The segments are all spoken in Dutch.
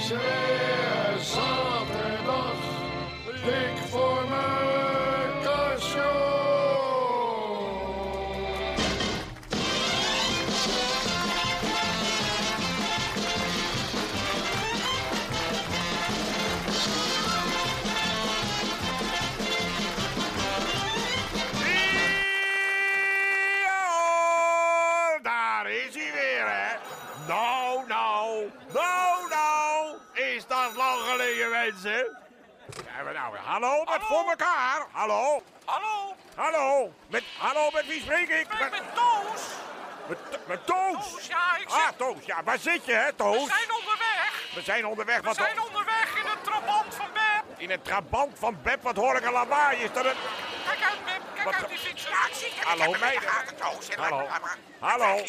Zeer zaterdag, dik voor mijn kastje. Ja, daar is hij weer, hè? Nou, nou, nou, nou. Is dat lang geleden, mensen? Ja, maar nou, hallo, met voor elkaar. Hallo, Hallo, hallo. Met, hallo, met wie spreek ik? ben Met, ik met Toos? met, met Toos. Toos, ja, ik zit... Ah, Toos, ja, waar zit je, hè, We Toos? zijn onderweg. We zijn onderweg, We wat zijn onderweg in het trabant van Beb. in het trabant van Beb, wat hoor ik een lawaai? Is dat een... Kijk uit, Beb. Kijk Wat uit, ge- die fietsen. Hallo, meiden. Hallo. Hallo.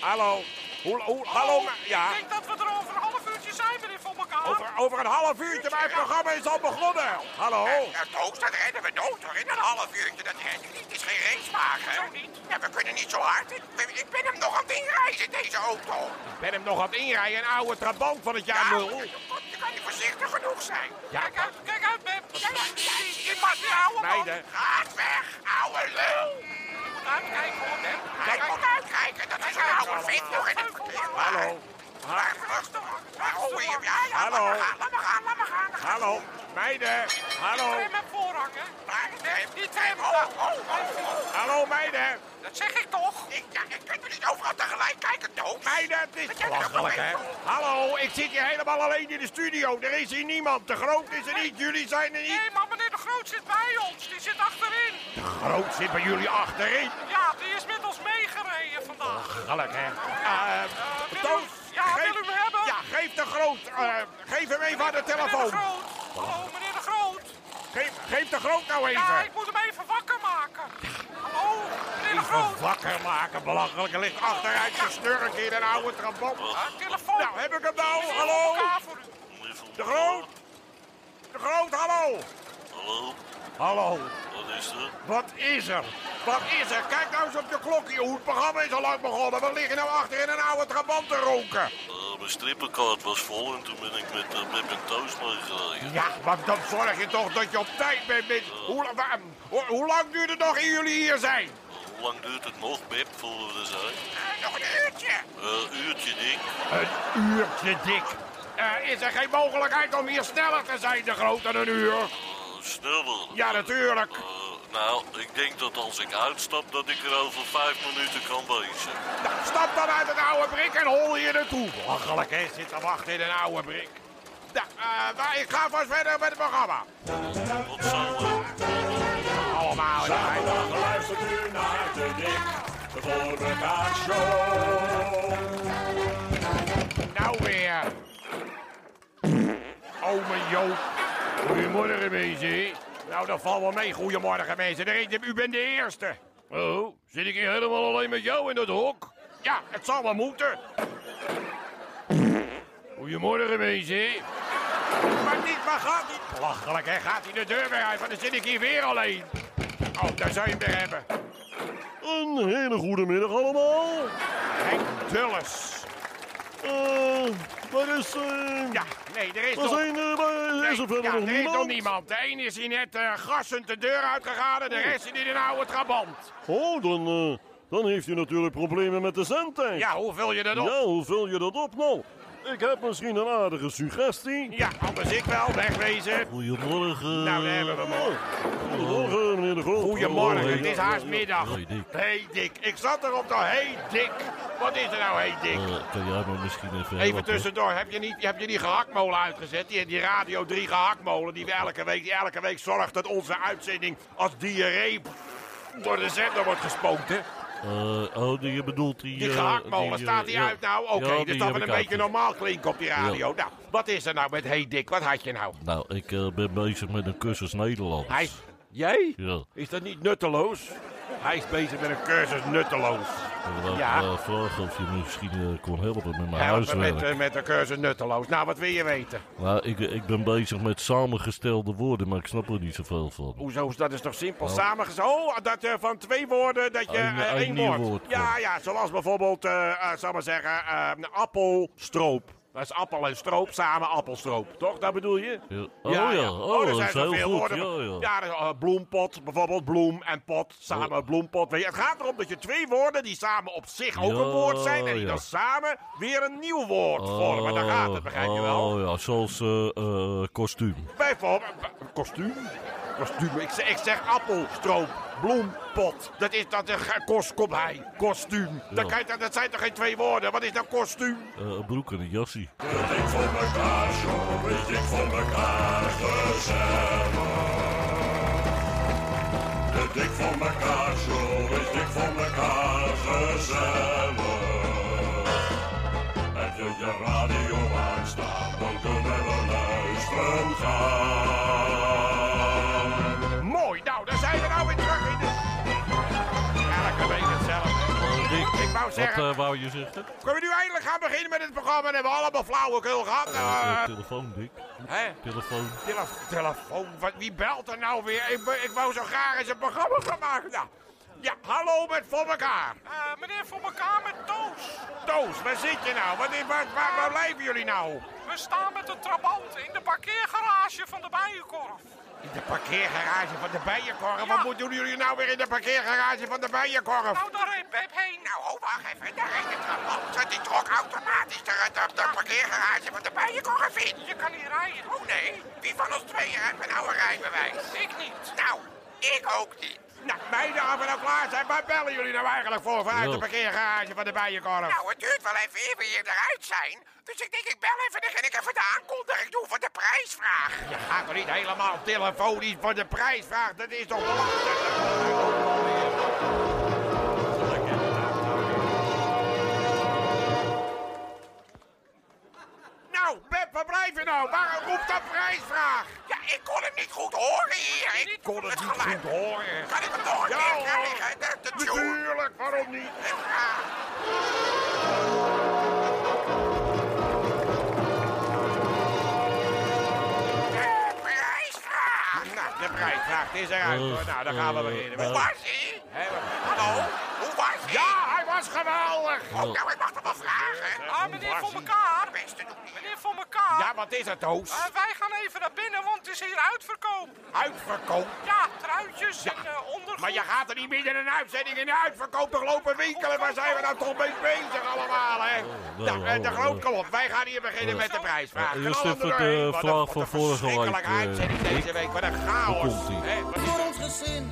Hallo. Hoe, hoe, hallo, me- ja. Oh, Ik denk dat we er over een half uurtje zijn, meneer Van elkaar. Over, over een half uurtje, maar het programma is al begonnen. Hallo? Ja, Nou, Toos, dat redden we dood hoor. In een half uurtje, dat redden we niet. Het is geen racewagen. Zo niet. Ja, we kunnen niet zo hard. Ik, ben- ik ben hem nog aan het inrijden, deze auto. Ik ben hem nog aan het inrijden, een oude trabant van het jaar Nou, nul. je kan niet voorzichtig genoeg zijn. Ja, Kijk uit, kijk uit, Beb. Kijk uit, Je mag die oude man. meiden, Gaat weg, ouwe lul. Moet uitkijken, hoor, Beb. Hij moet uitkijken, dat is een oude vent nog in het verkeer. hallo, Maar rustig, waarom hier? Ja, ja, Hallo. laat maar gaan, laat maar gaan, laat maar gaan. hallo, meiden, hallo, Trim en voorrang, hè. Maar, Nee, eh, niet trim. Oh, oh, oh, oh. hallo meiden, Dat zeg ik toch. Ik, ja, ik kan niet overal tegelijk kijken, Toos. meiden, het is belachelijk hè. Hallo, ik zit hier helemaal alleen in de studio, er is hier niemand, de groot is er niet, jullie zijn er niet. Nee, maar meneer De Groot zit bij ons. Die zit achterin. De groot zit bij jullie achterin. Ja, die is met ons meegereden vandaag. Belachelijk hè. Eh, wil u- Toos, ja, geef- wil u hem hebben? Ja, geef de groot, eh, geef hem even aan de Meneer telefoon. de Groot. Hallo, meneer de Groot. Geef, geef de groot nou even. Ja, ik moet hem even wakker maken. Hallo, meneer de Even Groot. wakker maken, belachelijk. Er ligt achteruit zijn snurk in een oude trabant. Ah, telefoon. Nou, heb ik hem nou? Telefoon Hallo? elkaar voor u. De Groot? De Groot, hallo! Hallo, Hallo, wat is er? wat is er? Wat is er? Kijk nou eens op de klokje hoe het programma is al lang begonnen. We liggen nou achter in een oude trabant te roken. Eh, mijn strippenkaart was vol en toen ben ik met, eh, met mijn toast meegereden. Ja, maar dan zorg je toch dat je op tijd bent. Met... Hoe, wa- hoe, hoe lang duurt het nog eer jullie hier zijn? Hoe lang duurt het nog, Beb, voor we er zijn? Eh, Nog een uurtje. Eh, uurtje, dik. Een uurtje dik. Eh, is er geen mogelijkheid om hier sneller te zijn, de Groot, dan een uur? Eh, sneller. Ja, natuurlijk. Eh, nou, ik denk dat als ik uitstap, dat ik er over vijf minuten kan wezen. Nou, stap dan uit het oude brik en hol hier naartoe. Belachelijk, hè? Zit te wachten in een oude brik. Nou, eh, maar ik ga vast verder met het programma. Tot zo, hè. Allemaal, ja. Zaterdag luistert u naar de dik voor elkaar show. Nou weer. Ome Joop. Goedemorgen, mensen. Nou, dat valt wel mee. Goedemorgen, mensen. Er is- U bent de eerste. Oh, zit ik hier helemaal alleen met jou in dat hok? Ja, het zal wel moeten. Goedemorgen, mensen. Maar niet, maar gaat niet. Belachelijk, hè? Gaat hij de deur weer uit? Want dan zit ik hier weer alleen. Oh, daar zou je hem weer hebben. Een hele goede middag allemaal. Henk Dulles. Eh, waar is... eh, Ja, nee, er is Waar nog... zijn eh, waar is er verder ja, nog er is niemand? nog niemand. De een is hier net eh, gassend de deur uitgegaan en de rest zit in een oude trabant. Oh, dan, eh, dan heeft u natuurlijk problemen met de zendtijd. Ja, hoe vul je dat op? Ja, hoe vul je dat op nou? Ik heb misschien een aardige suggestie. Ja, anders ik wel. Wegwezen. Goedemorgen. Oh. Nou, daar hebben we hem al. Goedemorgen, meneer de Groot. Goedemorgen, Oh, het is ja, haast ja, middag. Hey, Dick. Hey Dick, ik zat erop dan. Hey Dick. Wat is er nou, hey Oh, Dick? Eh, kan jij me misschien even Even tussendoor, heb je niet, heb je die gehaktmolen uitgezet? Die, die Radio 3 gehaktmolen die we elke week, die elke week zorgt dat onze uitzending als diarree door de zender wordt gespoten. oh, je bedoelt die... eh, Die gehaktmolen, staat die uit nou? Oké, dus dat we een beetje normaal klinken op die radio. Nou, wat is er nou met Hey Dick? Wat had je nou? Nou, ik ben bezig met een cursus Nederlands. Hij is- Jij? Ja. Is dat niet nutteloos? Hij is bezig met een cursus nutteloos. Ik wil Ja. eh, vragen of je me misschien eh, kon helpen met mijn Helpen huiswerk. met, eh, met een cursus nutteloos. Nou, wat wil je weten? Nou, ik, ik ben bezig met samengestelde woorden, maar ik snap er niet zoveel van. Hoezo? Dat is toch simpel? Samen Oh, dat eh, van twee woorden dat je Eén- eh, één één nieuw woord. woord, ja, ja, zoals bijvoorbeeld, eh eh, zal ik maar zeggen, eh, appelstroop. Dat is appel en stroop samen appelstroop, toch? Dat bedoel je? Ja. Oh ja, oh, dat is heel goed. woorden. Ja, ja. dat is, eh, bloempot, bijvoorbeeld bloem en pot, samen Oh. bloempot. Weet je, het gaat erom dat je twee woorden die samen op zich ook Ja, een woord zijn... en die ja. dan samen weer een nieuw woord vormen. Daar gaat het, begrijp je wel? Oh ja, zoals eh, eh, kostuum. Bijvoorbeeld, eh, kostuum? Kostuum, ik zeg, ik zeg appel, stroop, bloem, pot. Dat is dat, eh, kost, kom hij, kostuum. Dat, kan je- dat, dat zijn toch geen twee woorden? Wat is nou kostuum? Eh, broek en een jassie. dik voor mekaar, zo is dik voor mekaar gezellig. De dik voor mekaar, zo is dik voor mekaar gezellig. En wil je radio aanstaan, dan kunnen we luisteren gaan. Mooi, nou, daar zijn we nou weer terug in. Elke week hetzelfde. Eh, Rick, Ik wou wat zeggen- eh, wou je zeggen? Kunnen we nu eindelijk gaan beginnen met het programma? En hebben we allemaal flauwekul gehad? Eh, Eh, telefoon, Dick. Hè? Telefoon. Tele- telefoon, wat, wie belt er nou weer? Ik, wou- ik wou zo graag eens een programma gaan maken. Nou, ja, hallo met voor elkaar. Eh, meneer voor elkaar met Toos. Toos, waar zit je nou? Wat, is- waar, waar, waar blijven jullie nou? We staan met de trabant in de parkeergarage van de Bijenkorf. In de parkeergarage van de Bijenkorf? Ja. Wat moeten jullie nou weer in de parkeergarage van de Bijenkorf? Oh, Nou, daar reed Pep heen. Nou, oh, wacht even. Daar reed de trabant. Die trok automatisch de, de, de parkeergarage van de bijenkorf in. Je kan niet rijden. Ah, Oh nee, wie van ons tweeën heeft een oude rijbewijs? Ik niet. Nou, ik ook niet. Nou, meiden, als we nou klaar zijn, waar bellen jullie nou eigenlijk voor vanuit Ja. de parkeergarage van de Bijenkorf? Nou, het duurt wel even eer we hier eruit zijn. Dus ik denk, ik bel even, dan ga ik even de aankondiging doen voor de prijsvraag. Je gaat toch niet helemaal telefonisch voor de prijs vragen? Dat is toch belachelijk? Nou, Beb, waar blijf je nou? Waarom roept dat prijsvraag? Ja, ik kon hem niet goed horen hier. Ik kon het niet geluid- goed horen. Kan ik hem nog een Ja, keer hoor. krijgen? De, de tune. Natuurlijk, waarom niet? Ja. De prijsvraag. Nou, de prijsvraag is eruit. hoor. Nou, dan gaan we beginnen. Hoe was hij? Hallo? Hoe was hij? Ja, hij was geweldig! Oh, nou, ik mag toch wel vragen? Oh, Ah, meneer voor elkaar. Beste doen hier. Meneer voor elkaar. Ja, wat is het, Toos? Eh, wij gaan even naar binnen, want het is hier uitverkoop. Uitverkoop? Ja, truitjes en eh Maar ondergoed. je gaat er niet midden in een uitzending in de uitverkoop toch lopen winkelen? Waar zijn we nou toch mee bezig allemaal, hè? Oh, wel, Nou, eh, de wel, groot, wel. kom op. Wij gaan hier beginnen met de prijsvraag. Eh, En eerst alle even doorheen. de Wat een- vraag wat van een vorige verschrikkelijke week, eh, uitzending deze week. Wat een chaos. komt-ie? hè? Wat is- Voor ons gezin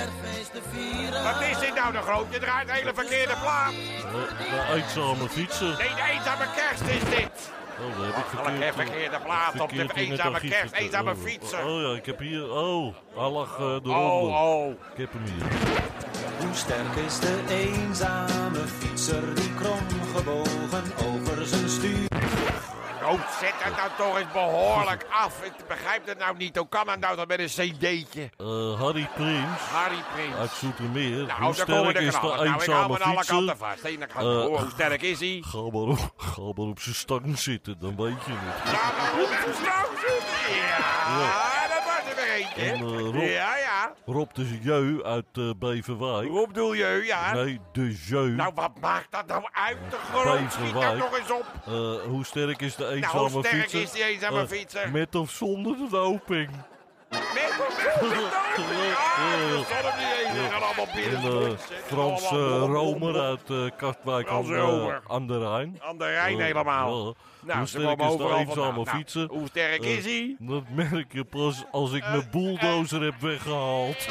er feest te vieren. Wat is dit nou, de groot? Je draait een hele verkeerde plaat. Eh, de eenzame fietser. Nee, de eenzame kerst is dit. Oh, daar heb ik Welke verkeerd, eh, verkeerde plaat op de verkeerd in het eenzame archief kerst, gezet. eenzame Oh, fietser. Oh ja, ik heb hier... Oh, hij lag eh, eronder. Oh, oh. Ik heb hem hier. Hoe sterk is de eenzame fietser die kromgebogen over zijn stuur? Rood, zet dat nou toch eens behoorlijk af. Ik begrijp dat nou niet. Hoe kan dat nou dat met een cd'tje? Eh, Harry Prins Harry Prins. uit Zoetermeer. Nou, Hoe daar komen sterk de is de knallen. Nou, ik hou me eenzame aan alle kanten fietser? vast. Hé, dan Eh, gaan we horen hoe sterk is hij? Ga maar, op, ga maar op zijn stang zitten, dan weet je Ja, het. maar hoe is het nou? Ja, dat was er weer En eentje. eh, Rob, Ja, ja. Rob de Jeu uit eh Beverwijk. Hoe bedoel je, ja? Nee, de Jeu. Nou, wat maakt dat nou uit? De groot schiet dat Beverwijk. nog eens op. Eh, hoe sterk is de eenzame Nou, hoe sterk fietser? is die eenzame Eh, fietser? Met of zonder een doping. Met de zon op die ene gaan allemaal En binnen. eh, Frans eh, Allemaal- Romer uit eh, Kastwijk aan, Frans eh, Romer. aan de Rijn. Aan de Rijn Eh, helemaal. ja. Nou, hoe ze sterk komen is de overal vandaan. eenzame Nou, fietser? Hoe Eh, sterk Eh, is hij? Dat merk je pas als ik mijn bulldozer heb weggehaald.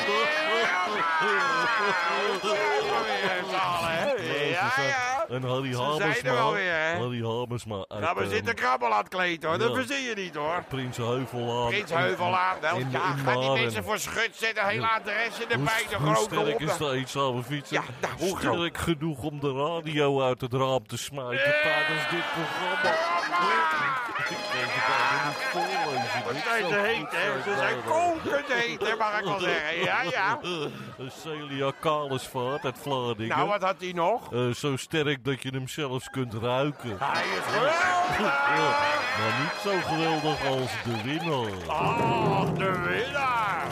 Ja, ja. En Harry zijn er Hamersma. wel weer, hè? Harry Hamersma uit Nou, we eh, zitten krabbel aan het kleed, hoor. Dat ja. verzin je niet, hoor. Prins Heuvelaan. Prins En- Heuvelaan, wel. in- Ja, in gaat die Maren. mensen voor schut zetten. Hele adressen Hoe, erbij, de hoe grote sterk is honden. de eenzame fietser? Ja, nou, hoe groot? sterk genoeg om de radio uit het raam te smijten Ja! tijdens dit programma. Ik denk het bijna niet voorlezen. Wat dit zijn zou ze goed heet, hè? Ze zijn kokend heet, hè, mag ik wel zeggen. Ja, ja. Eh, Celia Kalesvaart uit Vlaardingen. Nou, wat had hij nog? Eh, zo sterk dat je hem zelfs kunt ruiken. Hij is geweldig! Ja, maar niet zo geweldig als de winnaar. Oh, de winnaar!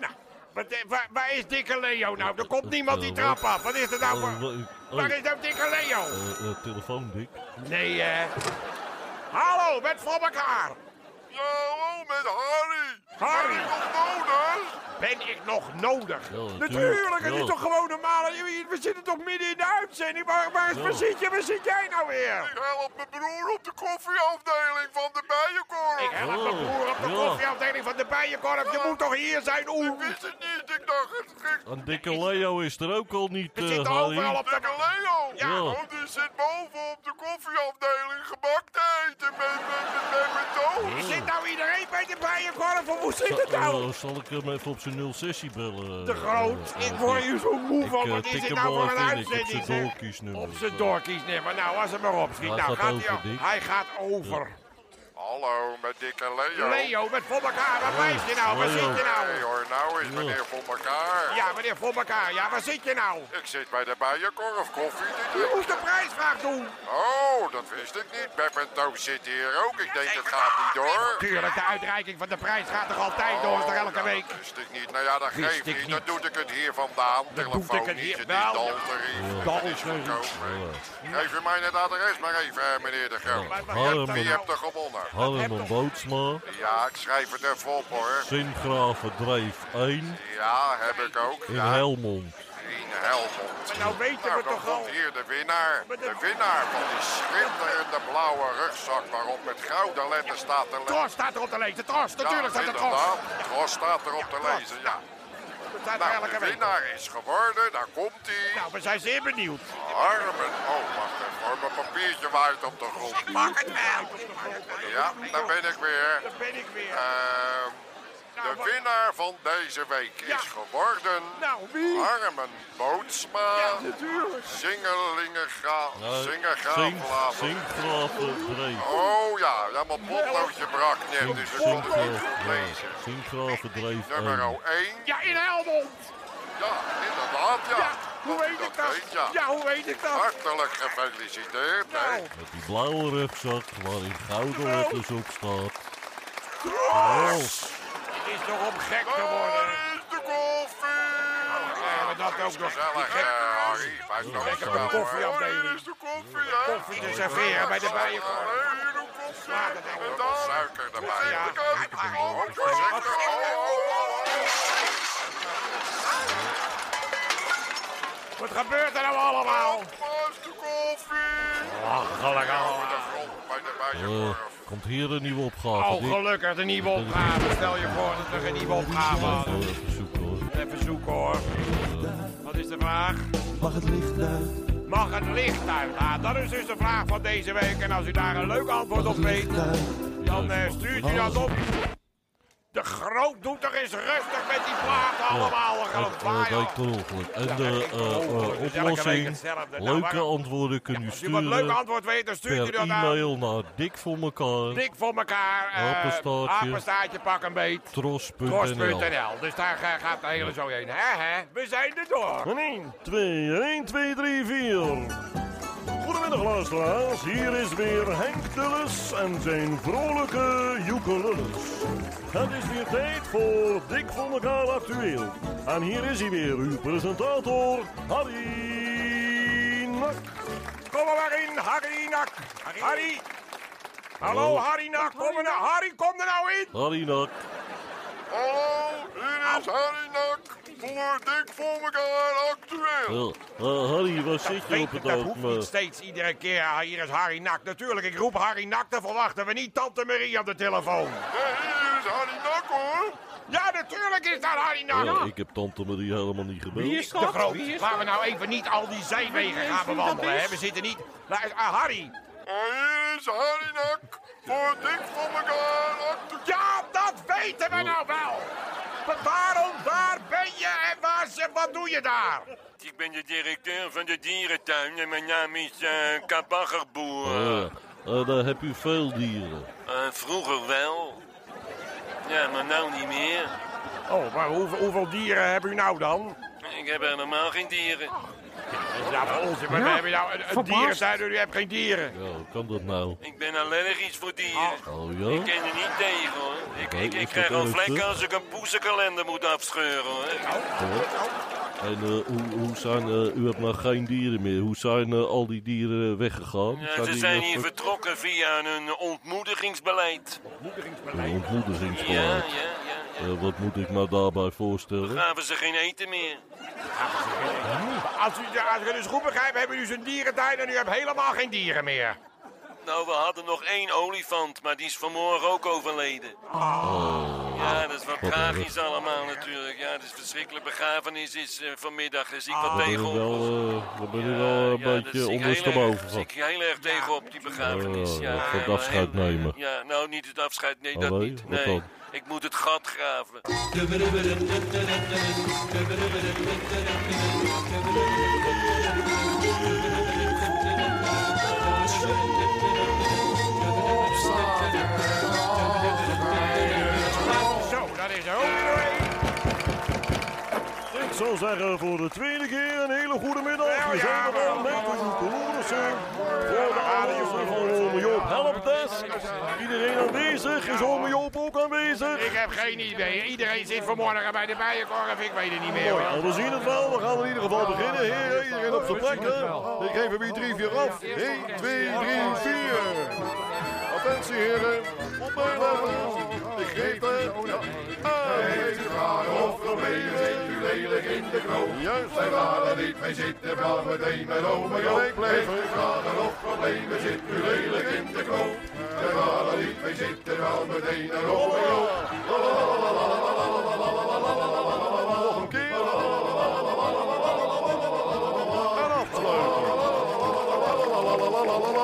Nou, eh, waar, waar is Dikke Leo nou? Er komt niemand die trap af. Wat is er nou Eh, wa- voor... eh, Waar is nou Dikke Leo? eh, eh, telefoon, Dick. Nee, hè? Hallo, met voor elkaar. Hallo, met Harry. Harry, Nog nodig? ben ik nog nodig? Ja, natuurlijk. Natuurlijk, het Ja. is toch gewoon normaal. We zitten toch midden in de uitzending. Waar, waar is Ja. Versietje? Waar zit jij nou weer? Ik help mijn broer op de koffieafdeling van de Bijenkorf. Ik help mijn Oh, broer op de ja. koffieafdeling van de Bijenkorf. Je moet toch hier zijn, Ik oeh. wist het niet, ik dacht het ging Een dikke Leo is er ook al niet, We eh, zitten Harry. overal op de... tegen Leo. Ja. Oh, die zit boven op de koffieafdeling gebak te eten met, met, met, met, met toast. Zit nou iedereen bij de Bijenkorf? Of hoe zit Zal- het nou? eh, zal ik hem even op zijn 06 bellen? eh, te groot. Ik word hier zo moe van. Wat is dit nou voor een uitzending? Op zijn zeg? doorkies nummer. eh. Op zijn doorkies nemen. Nou, als hem erop schiet. Hij Nou, gaat gaat over, hij al. Dick. Hij gaat over. Hallo, met Dick en Leo. Leo, met voor elkaar. Waar blijf je nou? Waar Leo. zit je Nee nou? hoor, nou is meneer voor elkaar. Ja, meneer voor elkaar. Ja, waar zit je nou? Ik zit bij de Bijenkorf koffie te Je drinken. moest de prijsvraag doen. Oh, dat wist ik niet. Pep en Toos zitten hier ook. Ik denk, dat gaat niet door. Tuurlijk, de uitreiking van de prijs gaat toch altijd door? Is toch elke nou, week? Dat wist ik niet. Nou ja, dat Wist geeft ik niet. niet. Dan doe ik het hier vandaan. doe ik het hier Telefonisch. Het is wel. daltarief. Ja. Het is goedkoop. Geef u mij het adres maar even, eh, meneer De Groot. Ja. Maar- Oh, maar- dat Wie moet- nou, hebt er gewonnen? Harm en Bootsma, Ja, ik schrijf het even op hoor. Sint-Gravendrijf 1 Ja, heb ik ook. in Ja, Helmond. in Helmond. Maar nou weten Nou, we dan toch al. komt hier de winnaar. De winnaar van die schitterende blauwe rugzak waarop met gouden letters staat te lezen. Tros staat erop te lezen. Tros, natuurlijk staat er tros. inderdaad. Tros staat erop te Tros, lezen, ja. Dat staat er Nou, elke de week. winnaar is geworden. Daar komt hij. Nou, we zijn zeer benieuwd. Armen. Oh, wacht even. hoor. Mijn papiertje waait op de grond. Pak het wel. Ja, daar ben ik weer. Nou, Daar ben ik weer. Nou, Ehm, de winnaar van deze week Ja. is geworden... Nou, Ah. wie? Armen Bootsma. Natuurlijk. Singelingenga... Sint- Singergaaflaven. Sint-Gravendrijf. Oh ja, ja, mijn potloodje brak net, dus ik kon het niet goed lezen. Sint-Gravendrijf 1. Nummer 1. Ja, in Helmond. Ja, inderdaad, ja. Ja, hoe weet ik weet dat? je. Ja, hoe weet ik dat? Hartelijk gefeliciteerd, hè. Nou, Met die blauwe rugzak waarin gouden Jawel. letters op staat. Oh. het is toch om gek te worden. Daar is de koffie! Ja, maar dat ook nog. Die Gezellig, hè, gek Harry. Wij nog lekker wel, hoor. koffieafdeling. Daar is de koffie, hè. koffie te serveren bij de bijenkorf. Allee, hier de koffie. Smaak het nou. En daar- Suiker erbij. Zit Ja. ik aan de koffie. Suiker. Oh, oh, oh. Wat gebeurt er nou allemaal? Waar is de koffie? Lachelijk Oh, de grond bij de Eh, bijenkorf. komt hier een nieuwe opgave, Oh, Dick? gelukkig, de nieuwe opgave. Stel je voor dat er een nieuwe opgave was. Even, even zoeken hoor. Even zoeken hoor. Wat is de vraag? Mag het licht uit? Mag het licht uit? Nou, dat is dus de vraag van deze week. En als u daar een leuk antwoord op weet, dan eh, stuurt u dat op. De groot doet er eens rustig met die platen allemaal. We gaan Ja, hem Oh, dat zwaaien. lijkt per ongeluk. En Ja, de dat lijkt per eh, eh, ongeluk. Het is elke week oplossing, hetzelfde. Nou, leuke waarom- antwoorden kunt u Als u wat leuk sturen antwoord weet, dan stuurt u per dat aan. e-mail naar dik voor elkaar, Dik voor elkaar. eh, Apenstaartje. Apenstaartje pak een beet. tros.nl. Tros.nl. Dus daar ga- gaat de hele zo heen. Hè, hè? We zijn er door. 1, 2, 1, 2, 3, 4. Goedemiddag luisteraars, hier is weer Henk Dulles en zijn vrolijke joekelulles. Het is weer tijd voor Dik voor elkaar actueel. En hier is hij weer, uw presentator, Harry Nak. Kom er maar in, Harry Nak. Harry. Hallo, Harry Nak. Kom er nou. Harry, kom er nou in. Harry Nak. Hallo, hier is Harry Nak voor Dik voor elkaar actueel. Eh, Harry, waar zit je op Weet je, het dat hoeft niet ogenblik? steeds iedere keer. Ah, Hier is Harry Nak. Natuurlijk, ik roep Harry Nak. Dan verwachten we niet Tante Marie op de telefoon. Nee, hier is Harry Nak hoor. Ja, natuurlijk is dat Harry Nak. Eh, ik heb tante Marie helemaal niet gebeld. Wie is de groot? Laten we nou even niet al die zijwegen gaan bewandelen. Hè? We zitten niet... Luister, ah, Harry. En hier is Harry Nak voor Dik voor elkaar actueel. Ja, dat weten we nou wel. Maar waarom, waar ben je en waar, ze- wat doe je daar? Ik ben de directeur van de dierentuin en mijn naam is eh Kabaggerboer. Eh, daar heb u veel dieren. Eh, vroeger wel. Ja, maar nou niet meer. Oh, maar hoeveel, hoeveel dieren hebben u nou dan? Ik heb helemaal geen dieren. Dat is nou onzin, maar we hebben nou een, een dierentuin en u hebt geen dieren. Ja, kan dat nou? Ik ben allergisch voor dieren. Oh ja? Ik ken er niet tegen hoor. Ik, Nee, ik, is ik dat krijg al ernstig? vlekken als ik een poesenkalender moet afscheuren hoor. En eh, hoe, hoe zijn, eh, u hebt nou geen dieren meer. Hoe zijn eh, al die dieren weggegaan? Ja, ze die zijn nog hier ver- vertrokken via hun ontmoedigingsbeleid. Een Ja, ja, ontmoedigingsbeleid. ja. ja. Eh, wat moet ik me daarbij voorstellen? Gaven ze geen eten meer. Als u, ja, als ik het dus goed begrijp, hebben u zijn dierentuin en u hebt helemaal geen dieren meer. Nou, we hadden nog één olifant, maar die is vanmorgen ook overleden. Oh. Ja, dat is wat tragisch allemaal natuurlijk. Ja, het is verschrikkelijk. Begrafenis is eh, vanmiddag. Er zie ik wat Daar ben tegen ik op. Ah. wel, eh, daar ben ik wel een Ja, daar beetje zie ik heel erg- ondersteboven zie van. ik heel erg tegen op, die begrafenis. Oh, Ja, dat gaat ja, afscheid heel- nemen. Ja, nou, niet het afscheid. Nee, dat Allee, niet. wat Nee, dan? ik moet het gat graven. Zo, dat is er ook weer één. Ik zou zeggen voor de tweede keer een hele goede middag. We zijn er dan met de Joekelorissen. Voor de aanwezig van Ome Joop Helpdesk. Iedereen aanwezig. Is Ome Joop ook aanwezig? Ik heb geen idee. Iedereen zit vanmorgen bij de bijenkorf. Ik weet het niet meer. Mooi, joh. nou, we zien het wel. We gaan in ieder geval beginnen. Heren, iedereen op zijn plek. hè? Ik geef hem hier drie, vier af. 1, 2, 3, 4. Attentie heren. Opmerking. Ik geef het. Hij vraag of proberen zit u lelijk in de kroon. Juist. Wij waren niet mee zitten, gaan meteen met ome Joop. Heeft u vragen of problemen zit u lelijk in de kroon. Wij waren niet mee zitten, gaan meteen naar ome Joop. Nog een keer. En afsluiten. Hola, hola.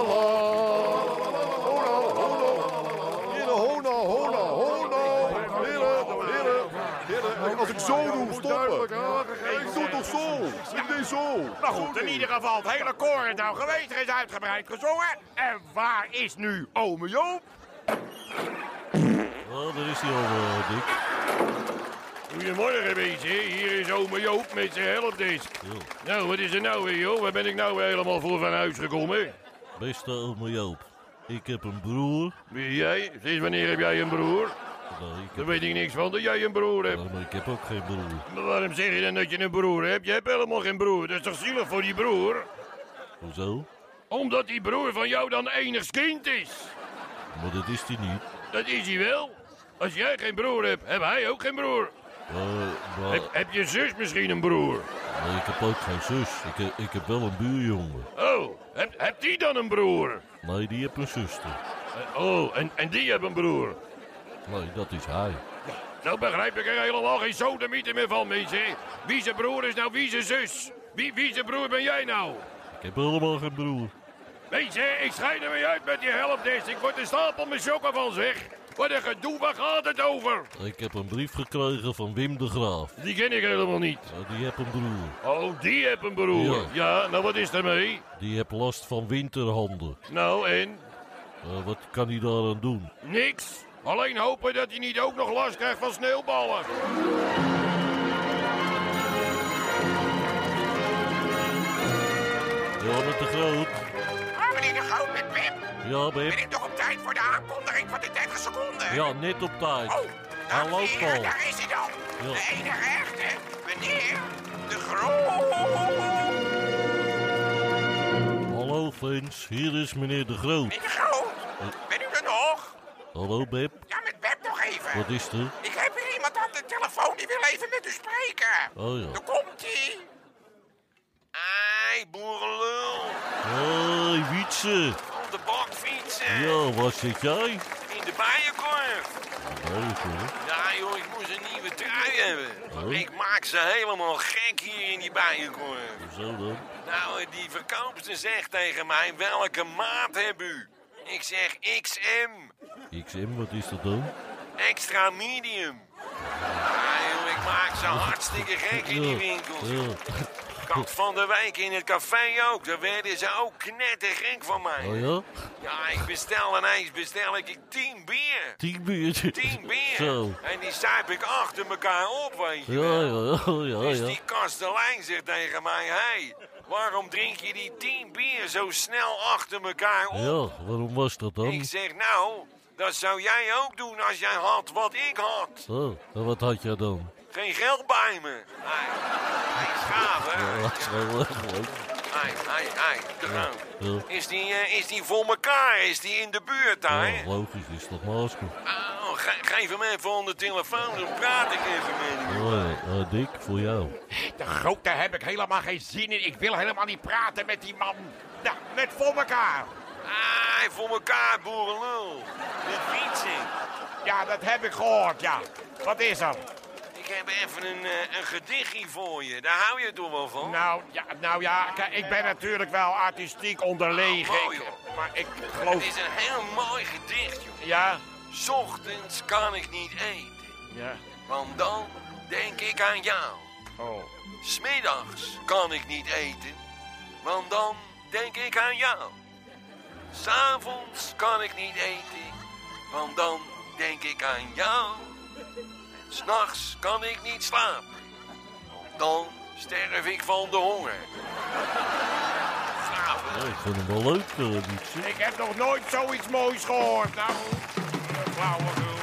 Heren, hola, hola, hola. Heren, heren, heren. Als ik zo doe, stoppen. Ik doe toch zo? Ik deed zo. Maar goed, in ieder geval, het hele koor is nou geweest. Er is uitgebreid gezongen. En waar is nu ome Joop? Oh, daar is hij al, eh, Dick. Goedemorgen, mensen. Hier is ome Joop met zijn helpdesk. Nou, wat is er nou weer, joh? Waar ben ik nou weer helemaal voor van huis gekomen? Beste ome Joop. Ik heb een broer. Wie jij? Sinds wanneer heb jij een broer? Nou, ik, Daar heb, weet ik niks van dat jij een broer hebt. maar ik heb ook geen broer. Maar waarom zeg je dan dat je een broer hebt? Je hebt helemaal geen broer. Dat is toch zielig voor die broer? Hoezo? Omdat die broer van jou dan enigst kind is. Maar dat is hij niet. Dat is hij wel. Als jij geen broer hebt, heb hij ook geen broer. Eh, maar, Heb, heb je zus misschien een broer? maar ik heb ook geen zus. Ik, heb- ik heb wel een buurjongen. Oh, heb, heb die dan een broer? Nee, die heeft een zuster. Eh, Oh, en, en die hebben een broer. Nee, dat is hij. Nou begrijp ik er helemaal geen sodemieter meer van, mensen. Wie zijn broer is nou wie zijn zus? Wie, wie zijn broer ben jij nou? Ik heb helemaal geen broer. Mensen, ik scheid er mee uit met die helpdesk. Ik word een stapel met chokken van, zeg. Wat een gedoe, waar gaat het over? Ik heb een brief gekregen van Wim de Graaf. Die ken ik helemaal niet. Eh, Die heeft een broer. Oh, die heb een broer. Ja. Ja, nou wat is ermee? Die heeft last van winterhanden. Nou, en? Eh, wat kan hij daaraan doen? Niks. Alleen hopen dat hij niet ook nog last krijgt van sneeuwballen. Ja, met de groot. Ah, meneer de Groot met Pip. Ja, Ben Beb. ik toch op tijd voor de aankondiging van de 30 seconden? Ja, net op tijd. Oh, Hij dames en loopt heren, al. daar is hij dan. Ja. De enige echte, meneer de Groot. Hallo, fans. Hier is meneer de Groot. Meneer Eh. de Groot, ben u er nog? Hallo, Beb. Ja, met Beb nog even. Wat is er? Ik heb hier iemand aan de telefoon die wil even met u spreken. Oh, ja. Daar komt-ie. Ai, boerenlul. Hoi, Wietse. Op de bakfietsen. Ja, waar zit jij? In de bijenkorf. Nee, hoor. Ja joh, ik moest een nieuwe trui hebben. Oh. Ik maak ze helemaal gek hier in die bijenkorf. Zo dan. Nou, eh, die verkoopster zegt tegen mij, welke maat heb u? Ik zeg XM, XM, wat is dat dan? extra medium. Ja joh, ik maak ze hartstikke gek in die Ja, winkels. ja. Kant van de wijk in het café ook. Daar werden ze ook knettergek van mij. Oh ja? Ja, ik bestel ineens bestel ik tien bier. Tien biertjes. Tien bier. Zo. En die zuip ik achter elkaar op, weet je Ja, wel. ja, ja, Dus ja. die kastelein zegt tegen mij... Hé, hey, waarom drink je die tien bier zo snel achter elkaar op? Ja, waarom was dat dan? Ik zeg, nou, dat zou jij ook doen als jij had wat ik had. Oh, en wat had jij dan? Geen geld bij me. Hij, hij is gaaf, hè? Ja, dat is wel erg leuk. Hij, hij, hij. De gang. Ja. Is die, eh, is die voor elkaar? Is die in de buurt daar? Ja, logisch, is toch masker. Oh, ge- geef hem even onder de telefoon, dan praat ik even met hem. Oh, ja, eh, Dick, voor jou. De grote heb ik helemaal geen zin in. Ik wil helemaal niet praten met die man. Nou, net voor elkaar. Ah, hij voor elkaar, boerenlul. Met fietsen. Ja, dat heb ik gehoord, ja. Wat is er? Ik heb even een, eh, een gedichtje voor je. Daar hou je toch wel van? Nou ja, nou ja, kijk, ik ben natuurlijk wel artistiek onderlegen. Oh, mooi, Ik- joh. maar ik Het geloof... is een heel mooi gedicht, joh. Ja? Ochtends kan ik niet eten, Ja. want dan denk ik aan jou. Oh. Smiddags kan ik niet eten, want dan denk ik aan jou. S'avonds kan ik niet eten, want dan denk ik aan jou. En S'nachts kan ik niet slapen, want dan sterf ik van de honger. Slapen. Ja, ik vind hem wel leuk, eh, Dietje. Ik heb nog nooit zoiets moois gehoord. Nou, flauwekul.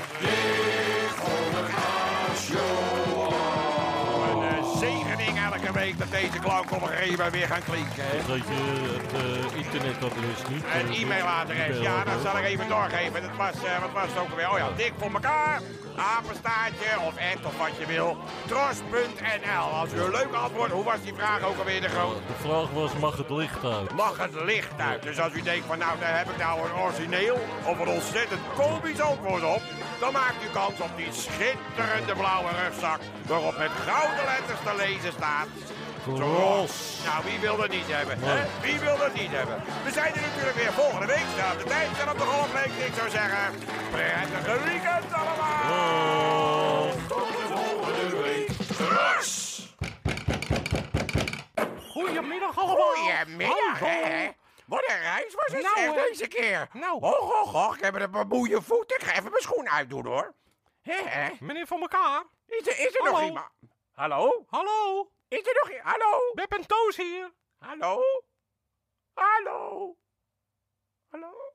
Een eh, zegening elke week dat deze klank op een gegeven moment weer gaan klinken. hè. Dat je het eh, internetadres niet... Een eh, e-mailadres, ja, dat zal ik even doorgeven. Dat was, eh, wat was het ook alweer? Oh ja, dik voor elkaar, apenstaartje of echt of wat je wil. Tros.nl. Als u een leuk antwoord, hoe was die vraag ook alweer de groot? De vraag was, mag het licht uit? Mag het licht uit? Dus als u denkt van nou, daar heb ik nou een origineel of een ontzettend komisch antwoord op, dan maakt u kans op die schitterende blauwe rugzak waarop met gouden letters te lezen staat. Tros. Nou, wie wil dat niet hebben? Nee. Hè? Wie wil dat niet hebben? We zijn er natuurlijk weer volgende week. Nou, de tijd staat op de golfweek. Ik zou zeggen, prettige weekend allemaal! Goedemiddag allemaal. Goedemiddag, Ho, ho. hè? Wat een reis was het Nou, zeg, hè. deze keer. Nou. Och, och, och, ik heb een paar boeie voeten. Ik ga even mijn schoen uitdoen, hoor. Hè, hè? Meneer van elkaar. Is er, is er nog Hallo. iemand? Hallo? Hallo. Is er nog iemand? Hallo? Beb en Toos hier. Hallo? Hallo? Hallo?